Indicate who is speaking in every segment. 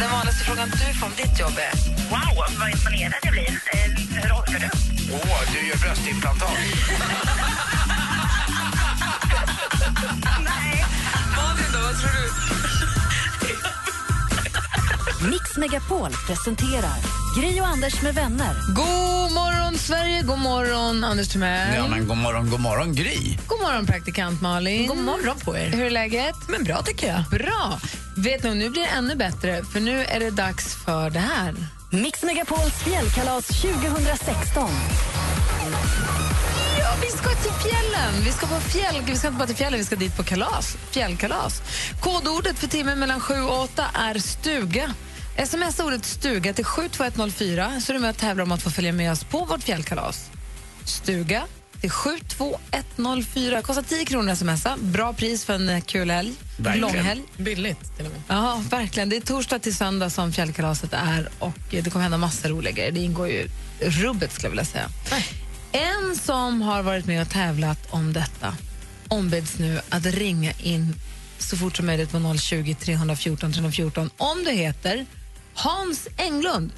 Speaker 1: Den vanligaste frågan du får om ditt jobb är? Wow, vad imponerad jag blir. Eh, Hur orkar du?
Speaker 2: Åh, du gör bröstimplantat.
Speaker 1: Malin då, vad tror du?
Speaker 3: Mix Megapol presenterar Gri och Anders med vänner.
Speaker 4: God morgon, Sverige! God morgon, Anders Timell.
Speaker 2: Ja, men god morgon, god morgon, Gry.
Speaker 4: God morgon, praktikant Malin.
Speaker 5: God morgon på er.
Speaker 4: Hur är läget?
Speaker 5: Men bra tycker jag.
Speaker 4: Bra! Vet ni, nu blir det ännu bättre, för nu är det dags för det här.
Speaker 3: Mix Megapols fjällkalas 2016.
Speaker 4: Ja, vi ska till fjällen! Vi ska på fjäll... Vi ska inte bara till fjällen, vi ska dit på kalas. Fjällkalas. Kodordet för timmen mellan 7 och 8 är stuga. Smsa ordet stuga till 72104 så är du med och tävlar om att få följa med oss på vårt fjällkalas. Stuga till 72104. Kostar 10 kronor att smsa. Bra pris för en eh, kul helg.
Speaker 2: Verkligen.
Speaker 4: Långhelg.
Speaker 5: Billigt till och med.
Speaker 4: Ja, verkligen. Det är torsdag till söndag som fjällkalaset är och det kommer hända massor roliga grejer. Det ingår ju rubbet skulle jag vilja säga. En som har varit med och tävlat om detta ombeds nu att ringa in så fort som möjligt på 020 314 314 om du heter Hans Englund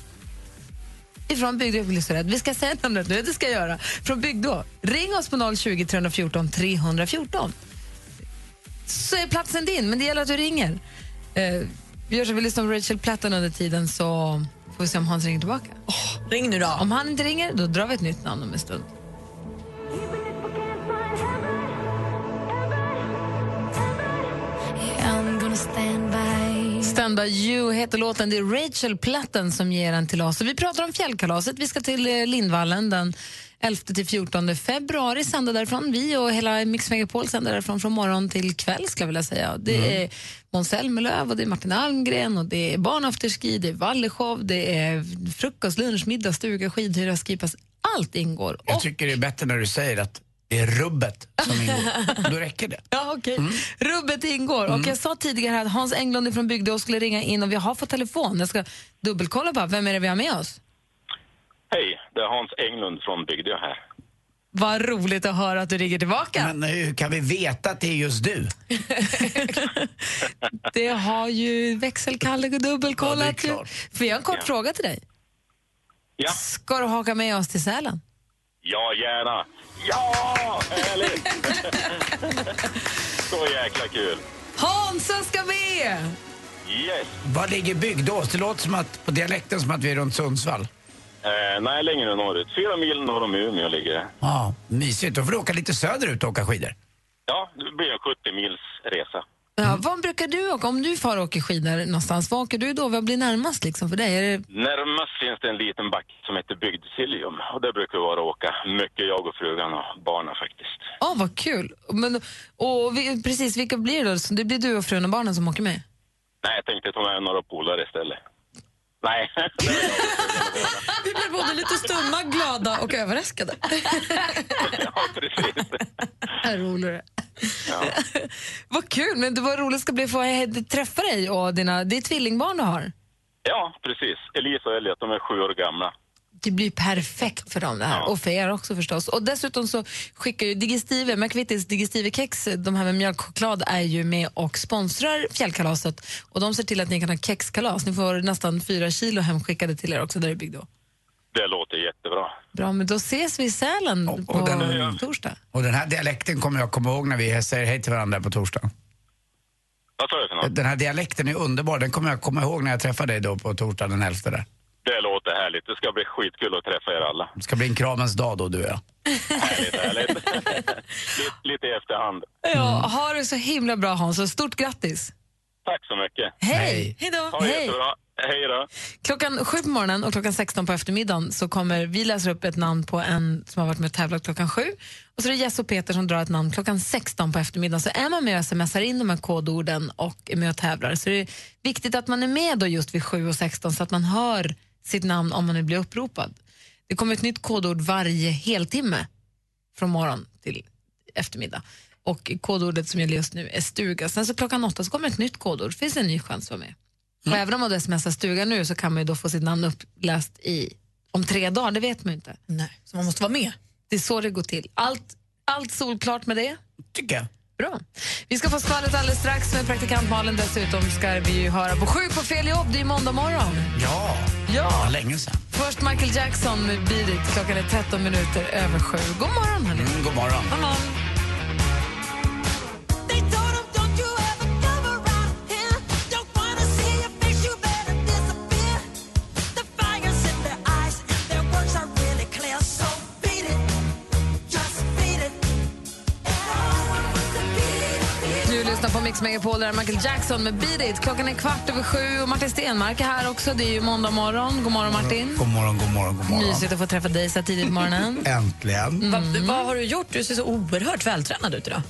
Speaker 4: ifrån Bygdö och Glysered. Vi ska säga namnet nu, det ska jag göra. Från Bygdå. Ring oss på 020 314 314 så är platsen din, men det gäller att du ringer. Eh, vi gör så att vi lyssnar på Rachel Platten under tiden så får vi se om Hans ringer tillbaka.
Speaker 5: Ring nu då.
Speaker 4: Om han inte ringer, då drar vi ett nytt namn om en stund. Stand by you heter låten. Det är Rachel Platten som ger den till oss. Och vi pratar om fjällkalaset. Vi ska till eh, Lindvallen den 11-14 februari. Sänder därifrån. Vi och hela Mix Megapol sänder därifrån från morgon till kväll. Ska jag vilja säga. Det är Måns Zelmerlöw, och det är Martin Almgren, och det är barnafterski, det är Valleshow, det är frukost, lunch, middag, stuga, skidhyra, skipass. Allt ingår.
Speaker 2: Jag
Speaker 4: Och-
Speaker 2: tycker det är bättre när du säger att det är rubbet som ingår. Då räcker det.
Speaker 4: Ja, okej.
Speaker 2: Mm.
Speaker 4: Rubbet ingår. Och jag sa tidigare att Hans Englund från Bygdeå skulle ringa in och vi har fått telefon. Jag ska dubbelkolla bara, vem är det vi har med oss?
Speaker 6: Hej, det är Hans Englund från Bygdö här.
Speaker 4: Vad roligt att höra att du ringer tillbaka.
Speaker 2: Men eh, hur kan vi veta att det är just du?
Speaker 4: Det har ju växelkalle
Speaker 2: Ja,
Speaker 4: dubbelkollat
Speaker 2: det är
Speaker 4: ju.
Speaker 2: klart.
Speaker 4: För jag har en kort
Speaker 6: Ja.
Speaker 4: fråga till dig.
Speaker 6: Ja,
Speaker 4: Ska du haka med oss till Sälen?
Speaker 6: ja gärna. Ja, härligt! Så jäkla kul.
Speaker 4: Hansa ska med!
Speaker 6: Yes.
Speaker 2: Var ligger Bygdås? Det låter som att, på dialekten som att vi är runt Sundsvall.
Speaker 6: Eh, nej, längre norrut. Fyra mil norr om Umeå ligger det.
Speaker 2: Ja, mysigt. Då får du åka lite söderut och åka skidor.
Speaker 6: Ja, det blir en 70 mils resa.
Speaker 2: Mm.
Speaker 4: Ja, vad brukar du åka? Om du far och åker skidor någonstans, vad åker du då? Vad blir närmast liksom för dig? Är det...
Speaker 6: Närmast finns det en liten backe som heter Bygdsiljum. Och där brukar vi vara och åka. Mycket jag och frugan och barnen faktiskt.
Speaker 4: Åh, vad kul! Men, och vi, precis, vilka blir det då? Så Det blir du och frun och barnen som åker med?
Speaker 6: Nej, jag tänkte ta med några polare istället. Nej,
Speaker 5: Vi blev både lite stumma, glada och överraskade.
Speaker 6: ja, precis.
Speaker 4: Här rolar det.
Speaker 6: Ja.
Speaker 4: vad kul, men det var roligt det ska bli att få he- träffa dig och dina, det är tvillingbarn du har.
Speaker 6: ja, precis. Elisa och Elliot, de är sju år gamla.
Speaker 4: Det blir perfekt för dem det här
Speaker 6: Ja.
Speaker 4: och för er också förstås. Och dessutom så skickar ju Digestive, McVittys Digestivekex, de här med mjölkchoklad är ju med och sponsrar fjällkalaset och de ser till att ni kan ha kexkalas. Ni får nästan fyra kilo hemskickade till er också där i Bygdå.
Speaker 6: Det låter jättebra.
Speaker 4: Bra, men då ses vi i Sälen
Speaker 2: Och- och
Speaker 4: på
Speaker 2: den-
Speaker 4: torsdag.
Speaker 2: Och den här dialekten kommer jag komma ihåg när vi säger hej till varandra på torsdag.
Speaker 6: Vad sa du för något?
Speaker 2: Den här dialekten är underbar. Den kommer jag komma ihåg när jag träffar dig då på torsdag den 11 där.
Speaker 6: Det låter härligt. Det ska bli skitkul att träffa er alla.
Speaker 2: Det ska bli en kramens dag då, du och jag.
Speaker 6: Härligt, härligt. lite, lite i efterhand.
Speaker 4: Ja, ha det så himla bra Hans och stort grattis.
Speaker 6: Tack så mycket.
Speaker 4: Hej!
Speaker 5: Hej då.
Speaker 6: Ha det jättebra. Hej då.
Speaker 4: Klockan sju på morgonen och klockan 16 på eftermiddagen så kommer vi läsa upp ett namn på en som har varit med och tävlat klockan sju. Och så är det Jess och Peter som drar ett namn klockan 16 på eftermiddagen. Så är man med och smsar in de här kodorden och är med och tävlar så det är viktigt att man är med då just vid 7 och 16 så att man hör sitt namn om man nu blir uppropad. Det kommer ett nytt kodord varje heltimme från morgon till eftermiddag. Och kodordet som gäller just nu är stuga. Sen så klockan åtta så kommer ett nytt kodord. finns det en ny chans att vara med.
Speaker 7: Mm.
Speaker 4: Och även om man då smsar stuga nu så kan man ju då få sitt namn uppläst i, om tre dagar, det vet man ju inte.
Speaker 7: Nej, så man måste vara med.
Speaker 4: Det är så det går till. Allt, allt solklart med det.
Speaker 8: tycker jag.
Speaker 4: Bra. Vi ska få skvallret alldeles strax med praktikant Malin. Dessutom ska vi ju höra på Sjuk på fel jobb. Det är ju måndag morgon.
Speaker 8: Ja.
Speaker 4: Ja.
Speaker 8: länge sedan.
Speaker 4: Först Michael Jackson med Beat It. Klockan är 13 minuter över sju. God morgon, hörni.
Speaker 8: Mm, god morgon.
Speaker 4: God morgon. Du lyssnar på Mix Megapol, där är Michael Jackson med Beat It. Klockan är kvart över sju och Martin Stenmark är här också. Det är ju måndag morgon. God morgon, Martin.
Speaker 8: God morgon, god morgon, god morgon.
Speaker 4: Mysigt att få träffa dig så här tidigt på morgonen.
Speaker 8: Äntligen.
Speaker 7: Vad, Mm. vad har du gjort? Du ser så oerhört vältränad ut idag.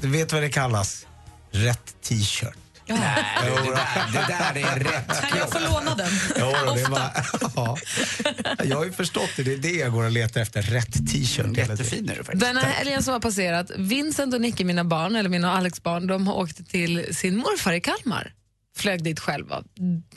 Speaker 9: Du vet vad det kallas? Rätt t-shirt.
Speaker 8: Nej, det där, det där är rätt.
Speaker 7: Kan jag få låna den?
Speaker 9: Jo, då, det var, ja. Jag har ju förstått det. Det är det jag går och letar efter. Rätt t-shirt. hela tiden.
Speaker 8: Jättefin är du faktiskt.
Speaker 4: Den här helgen som har passerat, Vincent och Nicky, mina barn, eller mina och Alex barn, de har åkt till sin morfar i Kalmar. Flög dit själva.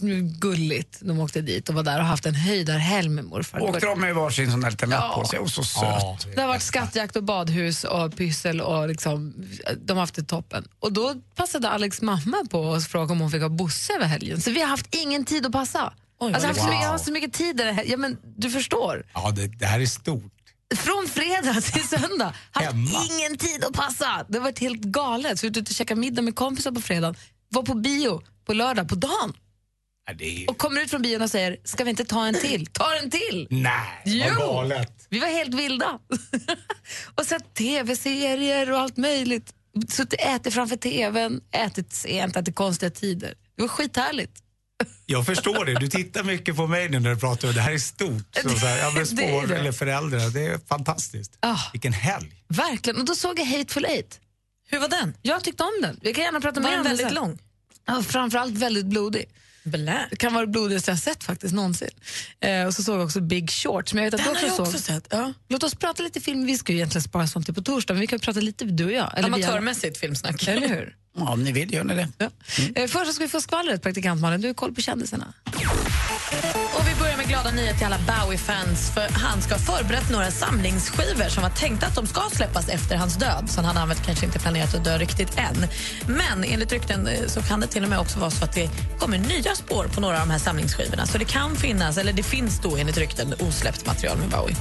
Speaker 4: Mm, Gulligt. De åkte dit och var där och haft en höjdarhelg med morfar.
Speaker 8: Åkte de med varsin sån där liten lapp på sig? Och så söt.
Speaker 9: Ja.
Speaker 4: Det har varit skattjakt och badhus och pyssel och liksom, de har haft det toppen. Och då passade Alex mamma på att fråga om hon fick ha Bosse över helgen. Så vi har haft ingen tid att passa.
Speaker 7: vad
Speaker 4: alltså, jag, har haft
Speaker 9: lyckligt.
Speaker 4: så mycket, jag har haft så mycket tid den här helgen. ja, men Du förstår.
Speaker 9: Ja, det, det här är stort.
Speaker 4: Från fredag till söndag. Haft
Speaker 9: Hemma.
Speaker 4: ingen tid att passa. Det har varit helt galet. Så vi var ute och käkade middag med kompisar på fredagen. Var på bio på lördag på dagen.
Speaker 8: Nej, det är...
Speaker 4: Och kommer ut från bion och säger, ska vi inte ta en till? Ta en till!
Speaker 8: Nej.
Speaker 9: Vad
Speaker 4: Jo!
Speaker 9: galet.
Speaker 4: Vi var helt vilda. och sett tv-serier och allt möjligt. Suttit och ätit framför tvn, ätit sent, ätit konstiga tider. Det var skithärligt.
Speaker 9: Jag förstår det. Du tittar mycket på mig nu när du pratar. om Det Det här är stort. Så, så här, ja, men
Speaker 4: Det är
Speaker 9: spår
Speaker 4: det.
Speaker 9: eller föräldrar. Det är fantastiskt.
Speaker 4: Ah.
Speaker 9: Vilken helg.
Speaker 4: Verkligen. Och då såg jag Hateful Eight.
Speaker 7: Hur var den?
Speaker 4: Jag tyckte om den. Vi kan gärna prata
Speaker 7: Var
Speaker 4: mer
Speaker 7: den
Speaker 4: om den
Speaker 7: väldigt
Speaker 4: sen.
Speaker 7: lång?
Speaker 4: Ja, framförallt väldigt blodig.
Speaker 7: Blä.
Speaker 4: Det kan vara det blodigaste jag sett faktiskt någonsin. Eh, och så såg jag också Big Short som jag vet att
Speaker 7: Den har
Speaker 4: du
Speaker 7: jag
Speaker 4: också
Speaker 7: också
Speaker 4: såg.
Speaker 7: sett. Ja.
Speaker 4: Låt oss prata lite film. Vi ska ju egentligen spara sånt till på torsdag men vi kan prata lite du och jag. Eller vi alla.
Speaker 7: Amatörmässigt filmsnack.
Speaker 4: Eller hur?
Speaker 8: Ja, om ni vill gör ni det.
Speaker 4: Ja.
Speaker 7: Mm.
Speaker 4: Eh, först så ska vi få skvallret, praktikant Malin. Du har koll på kändisarna.
Speaker 7: Och vi börjar med glada nyheter till alla Bowie-fans för han ska ha förberett några samlingsskivor som var tänkta att de ska släppas efter hans död. Så han har använt kanske inte planerat att dö riktigt än. Men enligt rykten eh, så kan det till och med också vara så att det kommer nya spår på några av de här samlingsskivorna. Så det kan finnas, eller det finns då enligt rykten, osläppt material med Bowie.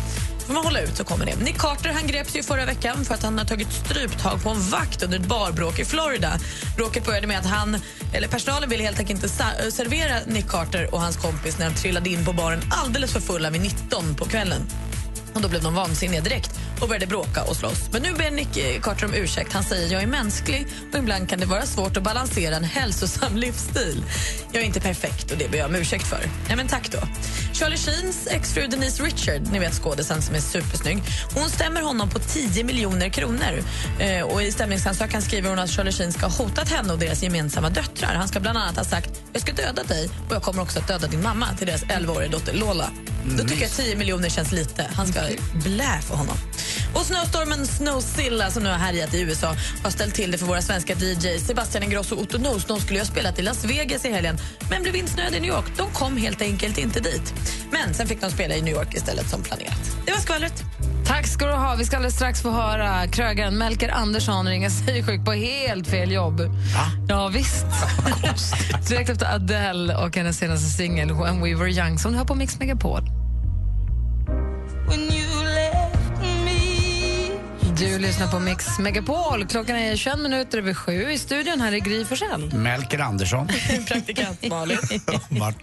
Speaker 7: Får man hålla ut så kommer det. Nick Carter han greps ju förra veckan för att han har tagit stryptag på en vakt under ett barbråk i Florida. Bråket började med att han, eller personalen ville helt enkelt inte sa- servera Nick Carter och hans kompis när de trillade in på baren alldeles för fulla vid 19 på kvällen. Och då blev de vansinniga direkt och började bråka och slåss. Men nu ber Nick eh, Carter om ursäkt. Han säger jag är mänsklig och ibland kan det vara svårt att balansera en hälsosam livsstil. Jag är inte perfekt och det ber jag om ursäkt för. Nej, men tack då. Charlie Sheens exfru Denise Richard, ni vet skådisen som är supersnygg, hon stämmer honom på 10 miljoner kronor. Eh, och I stämningsansökan skriver hon att Charlie Sheen ska ha hotat henne och deras gemensamma döttrar. Han ska bland annat ha sagt jag ska döda dig och jag kommer också att döda din mamma till deras 11-åriga dotter Lola. Då tycker jag 10 miljoner känns lite. Han ska blä för honom. Och snöstormen Snowzilla som nu har härjat i USA har ställt till det för våra svenska DJ Sebastian Ingrosso och Otto Nose. De skulle ju ha spelat i Las Vegas i helgen men blev insnöade i New York. De kom helt enkelt inte dit. Men sen fick de spela i New York istället som planerat. Det var skvallret.
Speaker 4: Tack ska du ha. Vi ska alldeles strax få höra krögaren Melker Andersson ringa sig sjuk på helt fel jobb. Ja, visst. Direkt efter Adele och hennes senaste singel When We Were Young som du hör på Mix Megapol. Du lyssnar på Mix Megapol. Klockan är 21 minuter över sju. I studion här är Gry Forssell.
Speaker 8: Melker Andersson.
Speaker 7: Praktikant Malin.
Speaker 9: Martin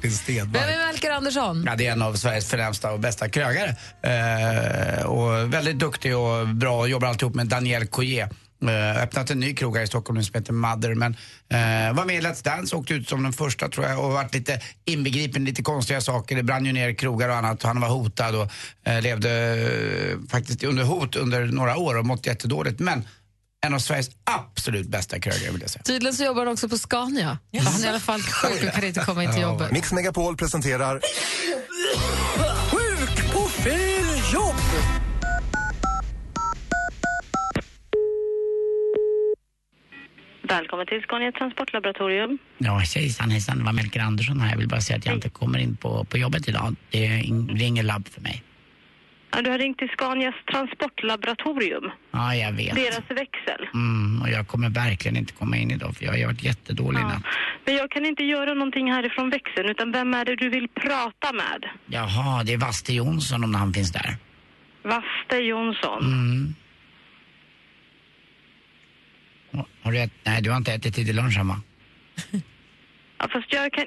Speaker 4: Vem
Speaker 9: Stenmarck.
Speaker 4: är Melker Andersson?
Speaker 8: Ja, det är en av Sveriges förnämsta och bästa krögare. Eh, och väldigt duktig och bra och jobbar alltid ihop med Daniel Coyer. Eh, öppnat en ny krog här i Stockholm nu som heter Mother. Men eh, var med i Let's Dance, åkte ut som den första tror jag och varit lite inbegripen i lite konstiga saker. Det brann ju ner krogar och annat. Han var hotad och eh, levde eh, faktiskt under hot under några år och mått jättedåligt. Men en av Sveriges absolut bästa krögare vill jag säga.
Speaker 4: Tydligen så jobbar han också på Scania. Han är i alla fall sjuk och kan inte komma in till jobbet.
Speaker 9: Mix Megapol presenterar...
Speaker 10: Sjuk på fel
Speaker 11: Välkommen till Scania Transportlaboratorium.
Speaker 8: Ja, hejsan hejsan. Det var Melker Andersson här. Jag vill bara säga att jag inte kommer in på, på jobbet idag. Det är in- det är ingen labb för mig.
Speaker 11: Ja, Du har ringt till Scanias Transportlaboratorium.
Speaker 8: Ja, jag vet.
Speaker 11: Deras växel.
Speaker 8: Mm, och jag kommer verkligen inte komma in idag för jag har varit jättedålig i natt.
Speaker 11: Men jag kan inte göra någonting härifrån växeln, utan vem är det du vill prata med?
Speaker 8: Jaha, det är Vaste Jonsson om han finns där.
Speaker 11: Vaste Jonsson.
Speaker 8: Mm. Har- Har du ätit? Nej, du har inte ätit till lunch än va?
Speaker 11: Ja, fast jag kan...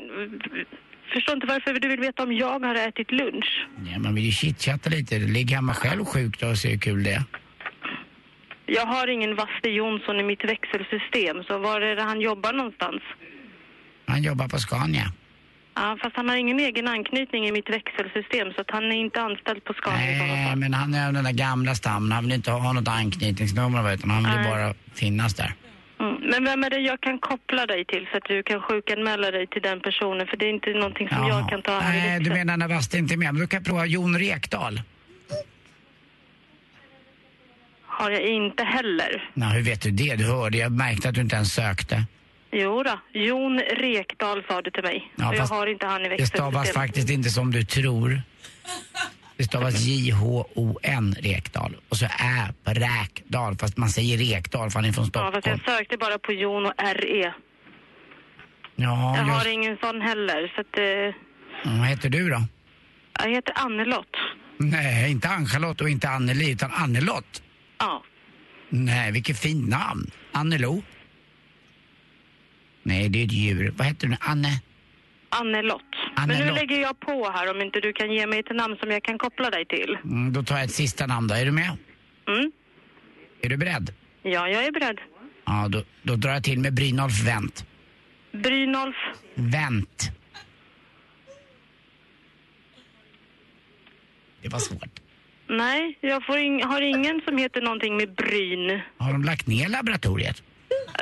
Speaker 11: Förstår inte varför du vill veta om jag har ätit lunch.
Speaker 8: Nej, man vill ju chitchatta lite. Ligg hemma själv sjuk då och se hur kul det är.
Speaker 11: Jag har ingen Vaste Jonsson i mitt växelsystem, så var är det han jobbar någonstans?
Speaker 8: Han jobbar på Scania.
Speaker 11: Ja, fast han har ingen egen anknytning i mitt växelsystem, så att han är inte anställd på Scania.
Speaker 8: Nej, men han är av den där gamla stammen. Han vill inte ha något anknytningsnummer va, utan han vill
Speaker 11: Nej.
Speaker 8: bara finnas där.
Speaker 11: Mm. Men vem är det jag kan koppla dig till så att du kan sjukanmäla dig till den personen? För det är inte någonting som jag kan ta här i
Speaker 8: Nej, du
Speaker 11: växeln.
Speaker 8: menar när Vaste inte är med. Men då kan jag prova Jon Rekdal.
Speaker 11: har jag inte heller.
Speaker 8: Nej, hur vet du det? Du hörde, jag märkte att du inte ens sökte.
Speaker 11: Jo då, Jon Rekdal sa du till mig.
Speaker 8: Ja,
Speaker 11: och jag
Speaker 8: fast
Speaker 11: har inte han i
Speaker 8: Det stavas
Speaker 11: växelsystemet.
Speaker 8: faktiskt inte som du tror. Det stavas J-H-O-N Rekdal. Och så Ä på Räkdal, fast man säger Rekdal för han är från
Speaker 11: Ja, fast
Speaker 8: Stockholm.
Speaker 11: jag sökte bara på Jon och RE.
Speaker 8: Ja,
Speaker 11: jag
Speaker 8: just,
Speaker 11: har ingen sån heller. Så att, eh,
Speaker 8: Ja, vad heter du då?
Speaker 11: jag heter Annelott.
Speaker 8: Nej, inte Ann-Charlotte och inte Anneli, utan Annelott.
Speaker 11: Ja.
Speaker 8: Nej, vilket fint namn. Annelo? Nej, det är ett djur. Vad heter du nu? Anne?
Speaker 11: Annelott. Men nu
Speaker 8: Annelott.
Speaker 11: lägger jag på här om inte du kan ge mig ett namn som jag kan koppla dig till.
Speaker 8: Mm, då tar jag ett sista namn då. Är du med?
Speaker 11: Mm.
Speaker 8: Är du beredd?
Speaker 11: Ja, jag är beredd.
Speaker 8: Ja, då, då drar jag till med Brynolf Wendt.
Speaker 11: Brynolf.
Speaker 8: Wendt. Det var svårt.
Speaker 11: Nej, jag får ing- har ingen som heter någonting med Bryn.
Speaker 8: Har de lagt ner laboratoriet?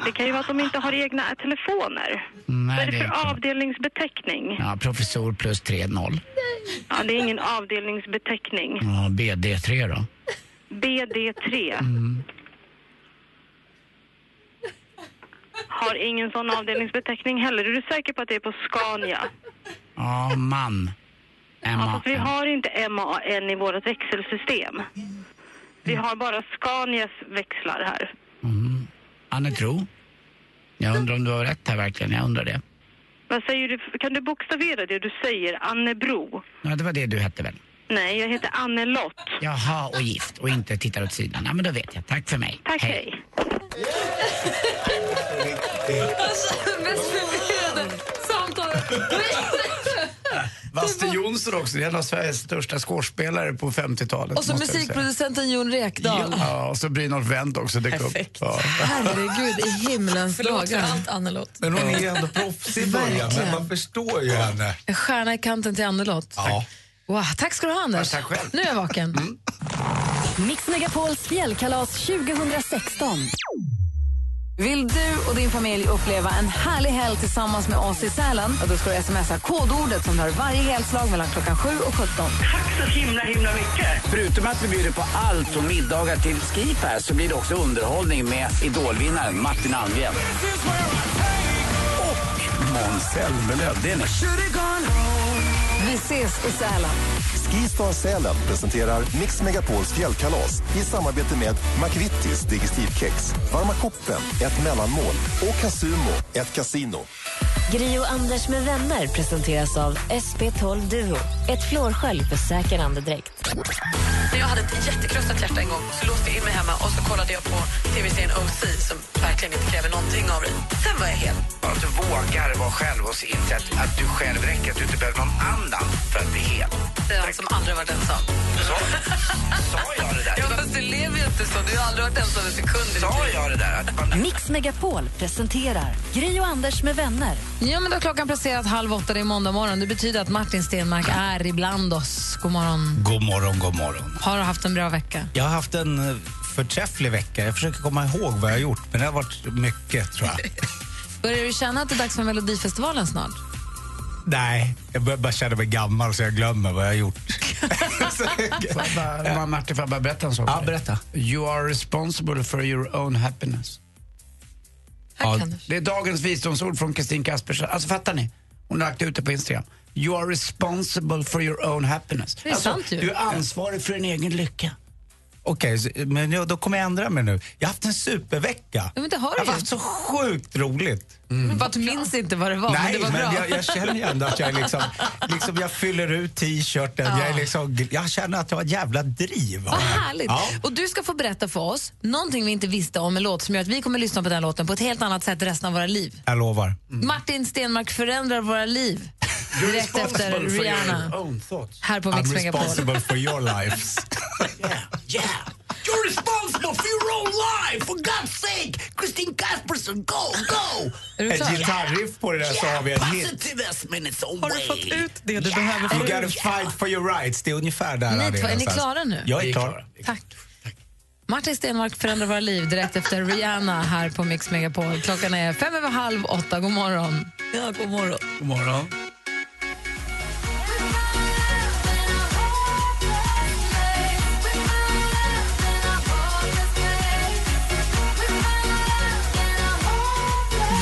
Speaker 11: Det kan ju vara att de inte har egna telefoner.
Speaker 8: Nej,
Speaker 11: Vad är det
Speaker 8: det är
Speaker 11: för avdelningsbeteckning?
Speaker 8: Ja, professor plus 3-0.
Speaker 11: Ja, det är ingen avdelningsbeteckning.
Speaker 8: Ja, BD3 då.
Speaker 11: BD3.
Speaker 8: Mm.
Speaker 11: Har ingen sån avdelningsbeteckning heller. Är du säker på att det är på Scania?
Speaker 8: Ja, man.
Speaker 11: Ja,
Speaker 8: Emma.
Speaker 11: fast vi har inte MAN i vårt växelsystem. Vi har bara Scanias växlar här.
Speaker 8: Mm. Anne Tro. Jag undrar om du har rätt här verkligen. Jag undrar det.
Speaker 11: Vad säger du? Kan du bokstavera det du säger? Annebro?
Speaker 8: Ja, det var det du hette väl?
Speaker 11: Nej, jag heter Annelott.
Speaker 8: Jaha, och gift och inte tittar åt sidan. Ja, men då vet jag. Tack för mig.
Speaker 11: Tack, hej.
Speaker 12: Alltså, mest förvirrade samtalet.
Speaker 13: Vaste Jonsson också, det är en av Sveriges största skådespelare på 50-talet.
Speaker 4: Och så
Speaker 13: måste jag säga.
Speaker 4: musikproducenten Jon Rekdal.
Speaker 13: Ja, och så Brynolf Wendt också dök upp. Ja.
Speaker 4: Herregud, i himlens
Speaker 14: Förlåt för
Speaker 4: dagar.
Speaker 14: allt, Annelott.
Speaker 15: Men hon är ändå proffsig i början, men man förstår ju henne.
Speaker 4: En stjärna i kanten till Annelott.
Speaker 15: Ja.
Speaker 4: Wow, tack ska du ha, Anders.
Speaker 15: tack själv. Mm.
Speaker 4: Nu är jag vaken.
Speaker 16: Mix Megapols fjällkalas 2016.
Speaker 4: Vill du och din familj uppleva en härlig helg tillsammans med oss i Sälen? Och då ska du smsa kodordet som du har varje helslag mellan klockan 7 och 17.
Speaker 17: Så himla, himla mycket.
Speaker 8: Förutom att vi bjuder på allt och middagar till Skipass så blir det också underhållning med idolvinnaren Martin Almgren. Och Måns Zelmerlöw. Det är ni.
Speaker 4: Vi ses i Sälen.
Speaker 18: Skistar Sälen presenterar Mix Megapols fjällkalas i samarbete med McVittys Digestivkex, Varma koppen, ett mellanmål och Casumo, ett kasino.
Speaker 16: Gri och Anders med vänner presenteras av SP12 Duo. Ett flårskölj för säker andedräkt.
Speaker 14: När jag hade ett jättekrossat hjärta en gång så låste jag in mig hemma och så kollade jag på tv-serien OC som verkligen inte kräver någonting av dig. Sen var jag hel.
Speaker 13: Att du vågar vara själv och inse att, att du själv räcker, att du inte behöver någon annan för att bli hel.
Speaker 14: Det är allt som aldrig varit ensam.
Speaker 13: Sa, sa jag det där?
Speaker 14: Ja, fast du lever ju inte så. Du har aldrig varit ensam en sekund.
Speaker 13: Sa jag det där? Att man
Speaker 16: Mix Megapol presenterar Gri och Anders med vänner.
Speaker 4: Ja, men då har klockan passerat halv åtta, det är måndag morgon. Det betyder att Martin Stenmark är ibland oss. God morgon.
Speaker 19: God morgon, god morgon.
Speaker 4: Har du haft en bra vecka?
Speaker 19: Jag har haft en eh, förträfflig vecka. Jag försöker komma ihåg vad jag har gjort, men det har varit mycket tror jag.
Speaker 4: Börjar du känna att det är dags för Melodifestivalen snart?
Speaker 19: Nej, jag börjar bara känna mig gammal så jag glömmer vad jag har gjort.
Speaker 13: Får jag bara- Ma- Martin, får jag bara berätta en sak? Ja, berätta. You are responsible for your own happiness.
Speaker 2: Det är dagens visdomsord från Kristin Kaspersen. Alltså fattar ni? Hon har lagt ut det på Instagram. You are responsible for your own happiness.
Speaker 5: Det är
Speaker 2: alltså,
Speaker 5: sant ju.
Speaker 2: Du är ansvarig för din egen lycka.
Speaker 8: Okej, så- men jag, då kommer jag ändra mig nu. Jag har haft en supervecka.
Speaker 4: Ja, men det har du
Speaker 8: jag har
Speaker 4: ju.
Speaker 8: haft så sjukt roligt.
Speaker 4: Fast du minns inte vad det var,
Speaker 8: mm. Nej,
Speaker 4: men det var bra.
Speaker 8: jag, jag känner ju ändå att jag är liksom, liksom jag fyller ut t-shirten.
Speaker 4: Ja.
Speaker 8: Jag, är liksom, jag känner att jag har ett jävla driv.
Speaker 4: Vad härligt!
Speaker 8: Ja.
Speaker 4: Och du ska få berätta för oss någonting vi inte visste om en låt som gör att vi kommer lyssna på den låten på ett helt annat sätt resten av våra liv.
Speaker 8: Jag lovar.
Speaker 4: Martin Stenmark förändrar våra liv.
Speaker 2: You're
Speaker 4: Direkt
Speaker 2: responsible
Speaker 4: efter
Speaker 2: for your
Speaker 4: Rihanna.
Speaker 2: own thoughts.
Speaker 4: Här på Mix
Speaker 8: I'm
Speaker 4: Megapol.
Speaker 8: responsible for your lives.
Speaker 20: You're responsible for your own life! For God's sake! Christine Kaspersen, go, go!
Speaker 8: Ett gitarriff på det där så har vi en hit.
Speaker 20: Positivism in its own
Speaker 8: Har du
Speaker 20: way.
Speaker 8: fått
Speaker 4: ut
Speaker 8: det
Speaker 4: du behöver få
Speaker 8: You gotta
Speaker 20: Oh,
Speaker 4: ut?
Speaker 8: fight for your rights. Det är ungefär där
Speaker 4: Ni
Speaker 8: han
Speaker 4: två, är ni
Speaker 8: någonstans.
Speaker 4: klara nu?
Speaker 8: Jag är
Speaker 4: Vi är
Speaker 8: klar.
Speaker 4: Tack. Martin Stenmark förändrar våra liv direkt efter Rihanna här på Mix Megapol. Klockan är fem över halv åtta. God morgon. Ja, god morgon.
Speaker 2: God morgon.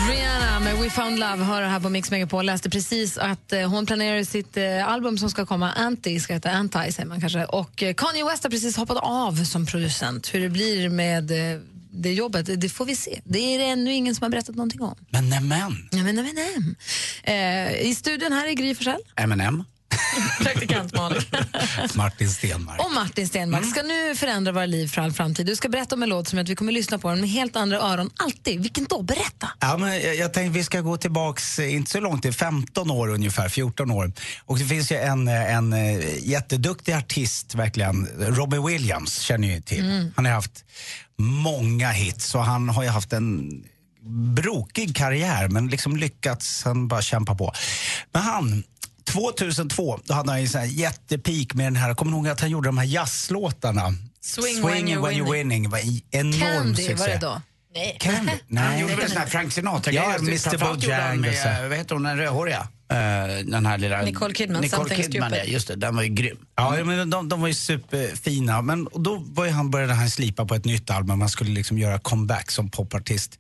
Speaker 4: Rihanna med We found love hör här på Mix Megapol. Läste precis att eh, hon planerar sitt eh, album som ska komma, Anti, ska heta Anti säger man kanske. Och eh, Kanye West har precis hoppat av som producent. Hur det blir med eh, det jobbet, det- det får vi se. Det är det ännu ingen som har berättat någonting om.
Speaker 2: Men nämen.
Speaker 4: Ja, men, nej, men, nej. Eh, I studion här är Gry Forssell.
Speaker 2: M&M.
Speaker 4: Praktikant Malin.
Speaker 8: Martin Stenmarck.
Speaker 4: Och Martin Stenmarck
Speaker 8: Mm.
Speaker 4: ska nu förändra våra liv för all framtid. Du ska berätta om en låt som gör att vi kommer lyssna på den med helt andra öron alltid. Vilken då? Berätta!
Speaker 8: Ja, men jag, jag tänkte vi ska gå tillbaks, eh, inte så långt, till 15 år ungefär, 14 år. Och det finns ju en, eh, en eh, jätteduktig artist verkligen, Robbie Williams känner ni ju till.
Speaker 21: Mm.
Speaker 8: Han har haft många hits och han har ju haft en brokig karriär men liksom lyckats, han bara kämpar på. Men han, 2002, då hade han ju en sån här jättepeak med den här, kommer ni ihåg att han gjorde de här jazzlåtarna?
Speaker 4: Swing
Speaker 8: Swing when you're winning. var en enorm
Speaker 4: Candy
Speaker 8: succé.
Speaker 4: var det då. Nej.
Speaker 8: Candy? Nej.
Speaker 2: Han gjorde väl sån här Frank Sinatra-grejer.
Speaker 8: Ja, Mr.
Speaker 2: Framförallt gjorde han
Speaker 8: Bojangles.
Speaker 2: med, eh, Vad heter hon, den rödhåriga? Eh, den här lilla...
Speaker 5: Nicole Kidman,
Speaker 2: Nicole
Speaker 5: Something
Speaker 2: Kidman,
Speaker 5: Stupid.
Speaker 2: ja, just det. Den var ju grym.
Speaker 8: Ja, ja, men de, de var ju superfina. Men och då var ju han, började han slipa på ett nytt album. Han skulle liksom göra comeback som popartist.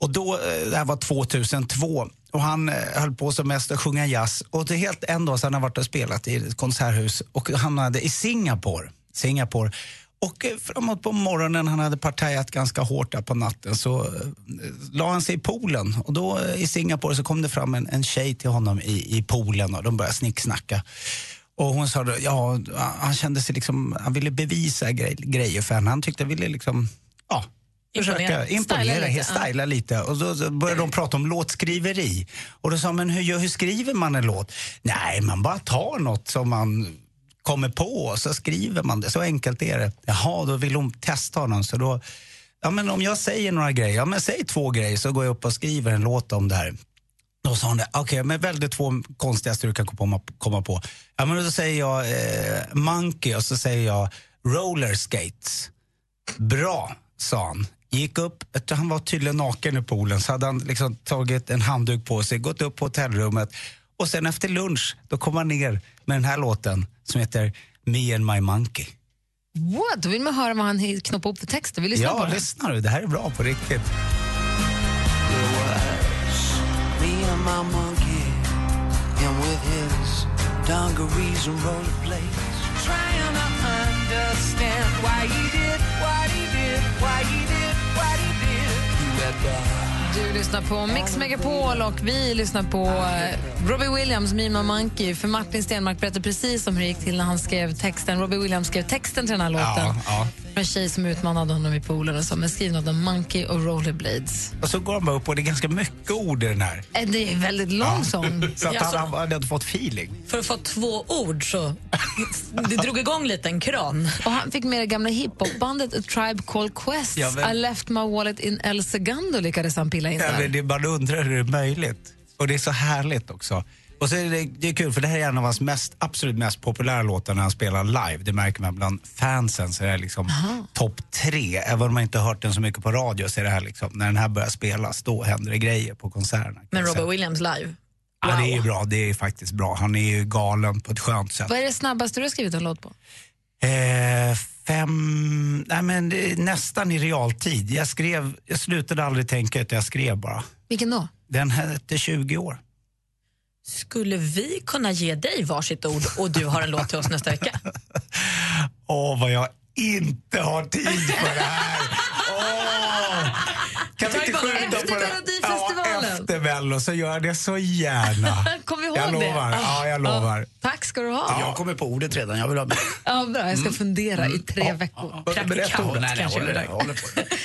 Speaker 8: Och då, eh, det här var 2002. Och han eh, höll på som mest att sjunga jazz. Och det är helt en dag sedan han varit och spelat i ett konserthus och hamnade i Singapore. Singapore. Och eh, framåt på morgonen, han hade partajat ganska hårt där på natten, så eh, la han sig i poolen. Och då eh, i Singapore så kom det fram en, en tjej till honom i, i poolen och de började snicksnacka. Och hon sa då, ja, han kände sig liksom, han ville bevisa grej, grejer för henne. Han tyckte han ville liksom, ja,
Speaker 21: Imponera.
Speaker 8: försöka imponera,
Speaker 21: Styla
Speaker 8: lite,
Speaker 21: lite, ja.
Speaker 8: styla lite. Och då så började de prata om låtskriveri. Och då sa han, men hur, gör- hur skriver man en låt? Nej, man bara tar något som man kommer på och så skriver man det. Så enkelt är det. Jaha, då vill hon testa honom. Så då, ja men om jag säger några grejer, ja men säg två grejer så går jag upp och skriver en låt om det här. Då sa hon det, okej, men välj de två konstigaste du kan komma, komma på. Ja, men då säger jag eh, monkey och så säger jag roller skates. Bra, sa han. Gick upp, jag tror han var tydligen naken i poolen, så hade han liksom tagit en handduk på sig, gått upp på hotellrummet och sen efter lunch, då kom han ner med den här låten som heter Me and my monkey.
Speaker 4: What? Då vill man höra vad han he- knoppar upp för texten. Vi lyssnar på
Speaker 8: Ja,
Speaker 4: den.
Speaker 8: lyssna du, det här är bra på riktigt.
Speaker 22: Me and my monkey, and with his dungarees and rollerblades.
Speaker 14: Trying to understand why he did what he did, why he did what he did.
Speaker 4: Du lyssnar på Mix Megapol och vi lyssnar på eh, Robbie Williams, Mima Monkey. För Martin Stenmark berättade precis om hur det gick till när han skrev texten. Robbie Williams skrev texten till den här låten.
Speaker 8: ja.
Speaker 4: En tjej som utmanade honom i poolen och sa men skriv något om Monkey och Rollerblades.
Speaker 8: Och så går han bara upp och det är ganska mycket ord i den här.
Speaker 4: Eh, Det är en väldigt lång sång.
Speaker 8: Så att han, han hade inte fått feeling.
Speaker 5: För att få två ord så det drog igång lite en kran.
Speaker 4: Och han fick med det gamla hiphopbandet A Tribe Called Quest.
Speaker 8: Ja, men-
Speaker 4: I left my wallet in El Segundo lyckades han pilla in
Speaker 8: Ja, men
Speaker 4: där.
Speaker 8: det är bara undrar hur det är möjligt. Och det är så härligt också. Och så är det, det är kul för det här är en av hans mest, absolut mest populära låtar när han spelar live. Det märker man bland fansen så är det liksom topp tre. Även om man inte har hört den så mycket på radio så är det här liksom, när den här börjar spelas då händer det grejer på konserterna.
Speaker 5: Men
Speaker 8: Robbie
Speaker 5: Robert Williams live.
Speaker 8: Ja, det är ju bra. Det är ju faktiskt bra. Han är ju galen på ett skönt sätt.
Speaker 4: Vad är det snabbaste du har skrivit en låt på?
Speaker 8: Eh, fem, nej, men, det är nästan i realtid. Jag skrev, jag slutade aldrig tänka utan jag skrev bara.
Speaker 4: Vilken då?
Speaker 8: Den hette 20 år.
Speaker 5: Skulle vi kunna ge dig varsitt ord och du har en låt till oss nästa vecka?
Speaker 8: Åh, vad jag inte har tid för det här. Åh! Kan vi
Speaker 5: Ta det
Speaker 8: inte
Speaker 5: bara
Speaker 8: skjuta
Speaker 5: efter
Speaker 8: på det?
Speaker 5: Melodifestivalen.
Speaker 8: Ja, efter Mello så gör jag det så gärna.
Speaker 4: Kom ihåg
Speaker 8: jag
Speaker 4: det. Ah.
Speaker 8: lovar. Ja, jag lovar.
Speaker 4: Tack ska du ha.
Speaker 2: Jag kommer på ordet redan, jag vill ha med.
Speaker 4: Ja, bra. Jag ska
Speaker 8: Mm.
Speaker 4: fundera i tre veckor.
Speaker 2: Praktikant kanske.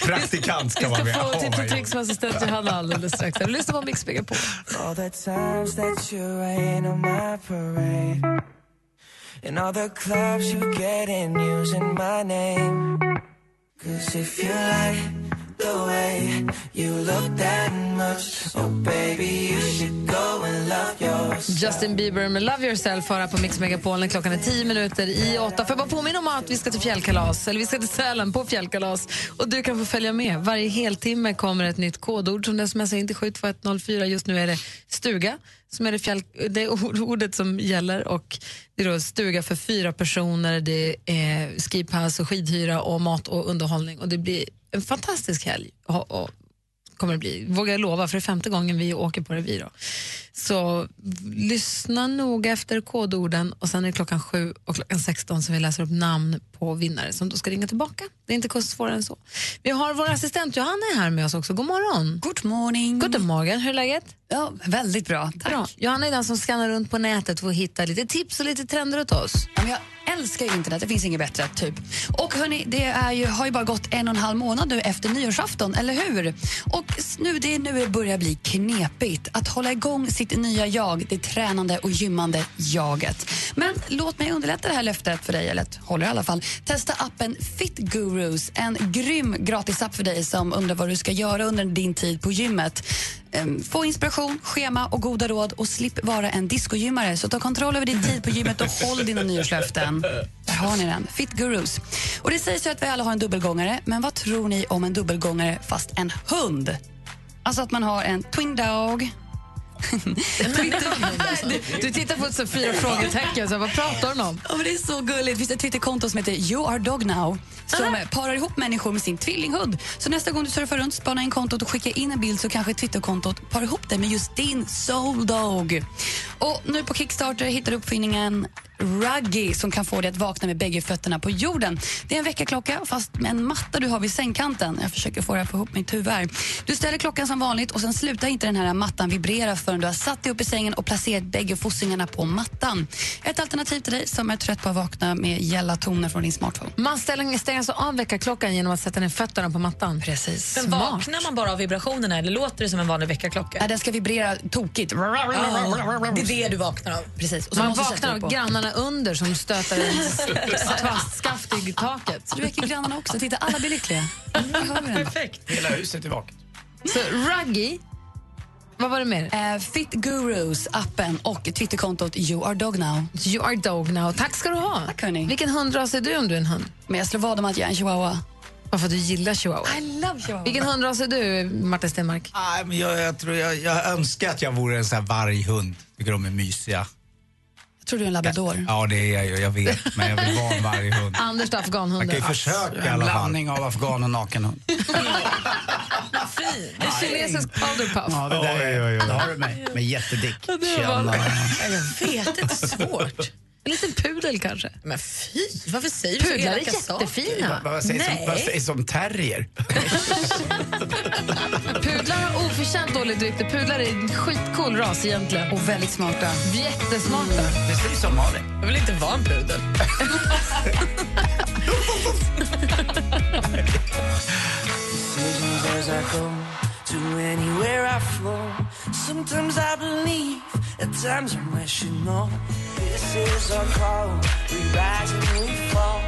Speaker 8: Praktikant ska Oh
Speaker 4: Vi
Speaker 8: vara
Speaker 4: ska
Speaker 8: med.
Speaker 4: få tips
Speaker 8: Åh, vad
Speaker 4: och tricks med assistent Johanna alldeles strax. Du lyssnar på Mix Megapol.
Speaker 22: All the times that you rain on my parade, and all the clubs you get in using my name. Cause if you like the way you look that much, oh baby, you should go and love yourself.
Speaker 4: Justin Bieber med Love Yourself har här på Mix Megapol när klockan är 10 minuter i åtta. Får jag bara påminna om att vi ska till fjällkalas, eller vi ska till Sälen på fjällkalas och du kan få följa med. Varje heltimme kommer ett nytt kodord som den smsar in till 72104. Just nu är det stuga som är det, fjäll, det är or- ordet som gäller och det är då stuga för fyra personer, det är skipass och skidhyra och mat och underhållning och det blir en fantastisk helg. Och, och, kommer det bli, vågar jag lova, för det är femte gången vi åker på revy då. Så lyssna noga efter kodorden och sen är det klockan 7 och klockan 16 som vi läser upp namn på vinnare som då ska ringa tillbaka. Det är inte kost svårare än så. Vi har vår assistent Johanna är här med oss också. God morgon.
Speaker 16: God morgon.
Speaker 4: God morgon. Hur är läget?
Speaker 16: Ja, väldigt bra. Tack.
Speaker 4: Bra. Johanna är den som skannar runt på nätet för att hitta lite tips och lite trender åt oss.
Speaker 16: Ja, men jag älskar ju internet, det finns inget bättre. typ. Och hörni, det är ju, har ju bara gått en och en halv månad nu efter nyårsafton, eller hur? Och s- nu, det är nu det börjar bli knepigt. Att hålla igång sitt nya jag, det tränande och gymmande jaget. Men låt mig underlätta det här löftet för dig, eller att hålla i alla fall. Testa appen Fit Gurus, en grym gratisapp för dig som undrar vad du ska göra under din tid på gymmet. Ehm, Få inspiration, schema och goda råd och slipp vara en discogymmare. Så ta kontroll över din tid på gymmet och håll dina nyårslöften. Där har ni den. Fit Gurus. Och det sägs ju att vi alla har en dubbelgångare, men vad tror ni om en dubbelgångare fast en hund? Alltså att man har en twin dog.
Speaker 4: Du- du tittar på Sofia och frågetecken, så här, vad pratar hon om?
Speaker 16: Ja, men det är så gulligt. Det finns ett Twitterkonto som heter You are dog now som parar ihop människor med sin tvillinghund. Så nästa gång du surfar runt, spana in kontot och skicka in en bild så kanske Twitterkontot parar ihop dig med just din soul dog. Och nu på Kickstarter hittar du uppfinningen Ruggy som kan få dig att vakna med bägge fötterna på jorden. Det är en väckarklocka fast med en matta du har vid sängkanten. Jag försöker få det här att få ihop mitt huvud här. Du ställer klockan som vanligt och sen slutar inte den här mattan vibrera förrän du har satt dig upp i sängen och placerat bägge fossingarna på mattan. Ett alternativ till dig som är trött på att vakna med gälla toner från din smartphone.
Speaker 4: Man ställer, stänger alltså av väckarklockan genom att sätta ner fötterna på mattan.
Speaker 16: Precis.
Speaker 5: Men vaknar man bara av vibrationerna eller låter det som en vanlig väckarklocka?
Speaker 16: Nej, den ska vibrera tokigt.
Speaker 5: det är det du vaknar av.
Speaker 16: Precis. Och så
Speaker 4: Man
Speaker 16: måste du sätta
Speaker 4: vaknar
Speaker 16: upp
Speaker 4: av
Speaker 16: på.
Speaker 4: grannarna under som stöter en plastskaft i taket.
Speaker 16: Du väcker grannarna också. Titta, alla blir lyckliga.
Speaker 2: Perfekt. Hela huset är vaket.
Speaker 4: Så Ruggy, vad var det mer?
Speaker 16: Eh, Fit Gurus, appen och Twitterkontot You are dog now.
Speaker 4: You are dog now. Tack ska du ha.
Speaker 16: Tack hörni.
Speaker 4: Vilken hundras är du om du är en hund?
Speaker 16: Men jag slår vad om att jag är en chihuahua.
Speaker 4: Varför du gillar chihuahua?
Speaker 16: I love chihuahua.
Speaker 4: Vilken hundras är du, Martin Stenmark?
Speaker 8: Nej, men jag, jag, tror, jag, jag önskar att jag vore en sån här varghund. Tycker de är mysiga.
Speaker 16: Jag tror du är en labrador.
Speaker 8: Ja, det är jag ju. Jag vet. Men jag vill vara en varghund.
Speaker 4: Anders då,
Speaker 8: Man kan
Speaker 4: afghanhunden.
Speaker 8: ju försöka i
Speaker 2: En
Speaker 8: alla fall.
Speaker 2: blandning av afghan och nakenhund.
Speaker 4: En kinesisk powderpuff.
Speaker 2: Ja, det där
Speaker 8: Oj, oj, oj.
Speaker 2: Där har du mig. Med jättedick.
Speaker 4: Ja, det var-
Speaker 2: Tjena.
Speaker 5: Jag vet inte, svårt.
Speaker 4: En liten pudel kanske.
Speaker 5: Men fy, varför säger du så
Speaker 4: Pudlar är
Speaker 5: elaka saker?
Speaker 4: jättefina.
Speaker 2: Vad sägs om- vad sägs om terrier?
Speaker 4: Pudlar har oförtjänt dåligt rykte. Pudlar är en skitcool ras egentligen.
Speaker 16: Och väldigt smarta.
Speaker 4: Jättesmarta.
Speaker 2: Precis som Malin.
Speaker 5: Jag vill inte vara en pudel.
Speaker 22: Decisions as I go to anywhere I flow. Sometimes I believe, at times I'm rational. This is our call. We rise and we fall.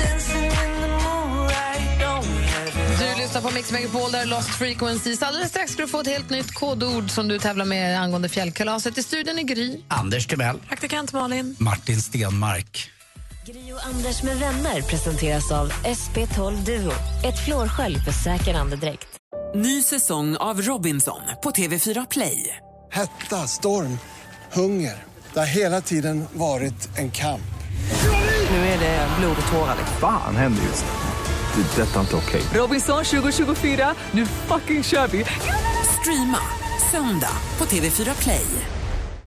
Speaker 22: Dancing in the moonlight, don't we have it all?
Speaker 4: Du lyssnar på Mix Megapol, där Lost Frequencies. Alldeles strax ska du få ett helt nytt kodord som du tävlar med angående fjällkalaset. I studion är Gry.
Speaker 8: Anders Timell.
Speaker 5: Praktikant Malin.
Speaker 8: Martin Stenmark.
Speaker 3: Gri och Anders med vänner presenteras av SP12 Duo. Ett flårskölj för säker andedräkt.
Speaker 14: Ny säsong av Robinson på TV4 Play.
Speaker 23: Hetta, storm, hunger. Det har hela tiden varit en kamp.
Speaker 24: Nu är det blod och tårar. Vad fan händer just nu? Det är detta inte okej.
Speaker 14: Robinson 2024, nu fucking kör vi! Streama söndag på TV4 Play.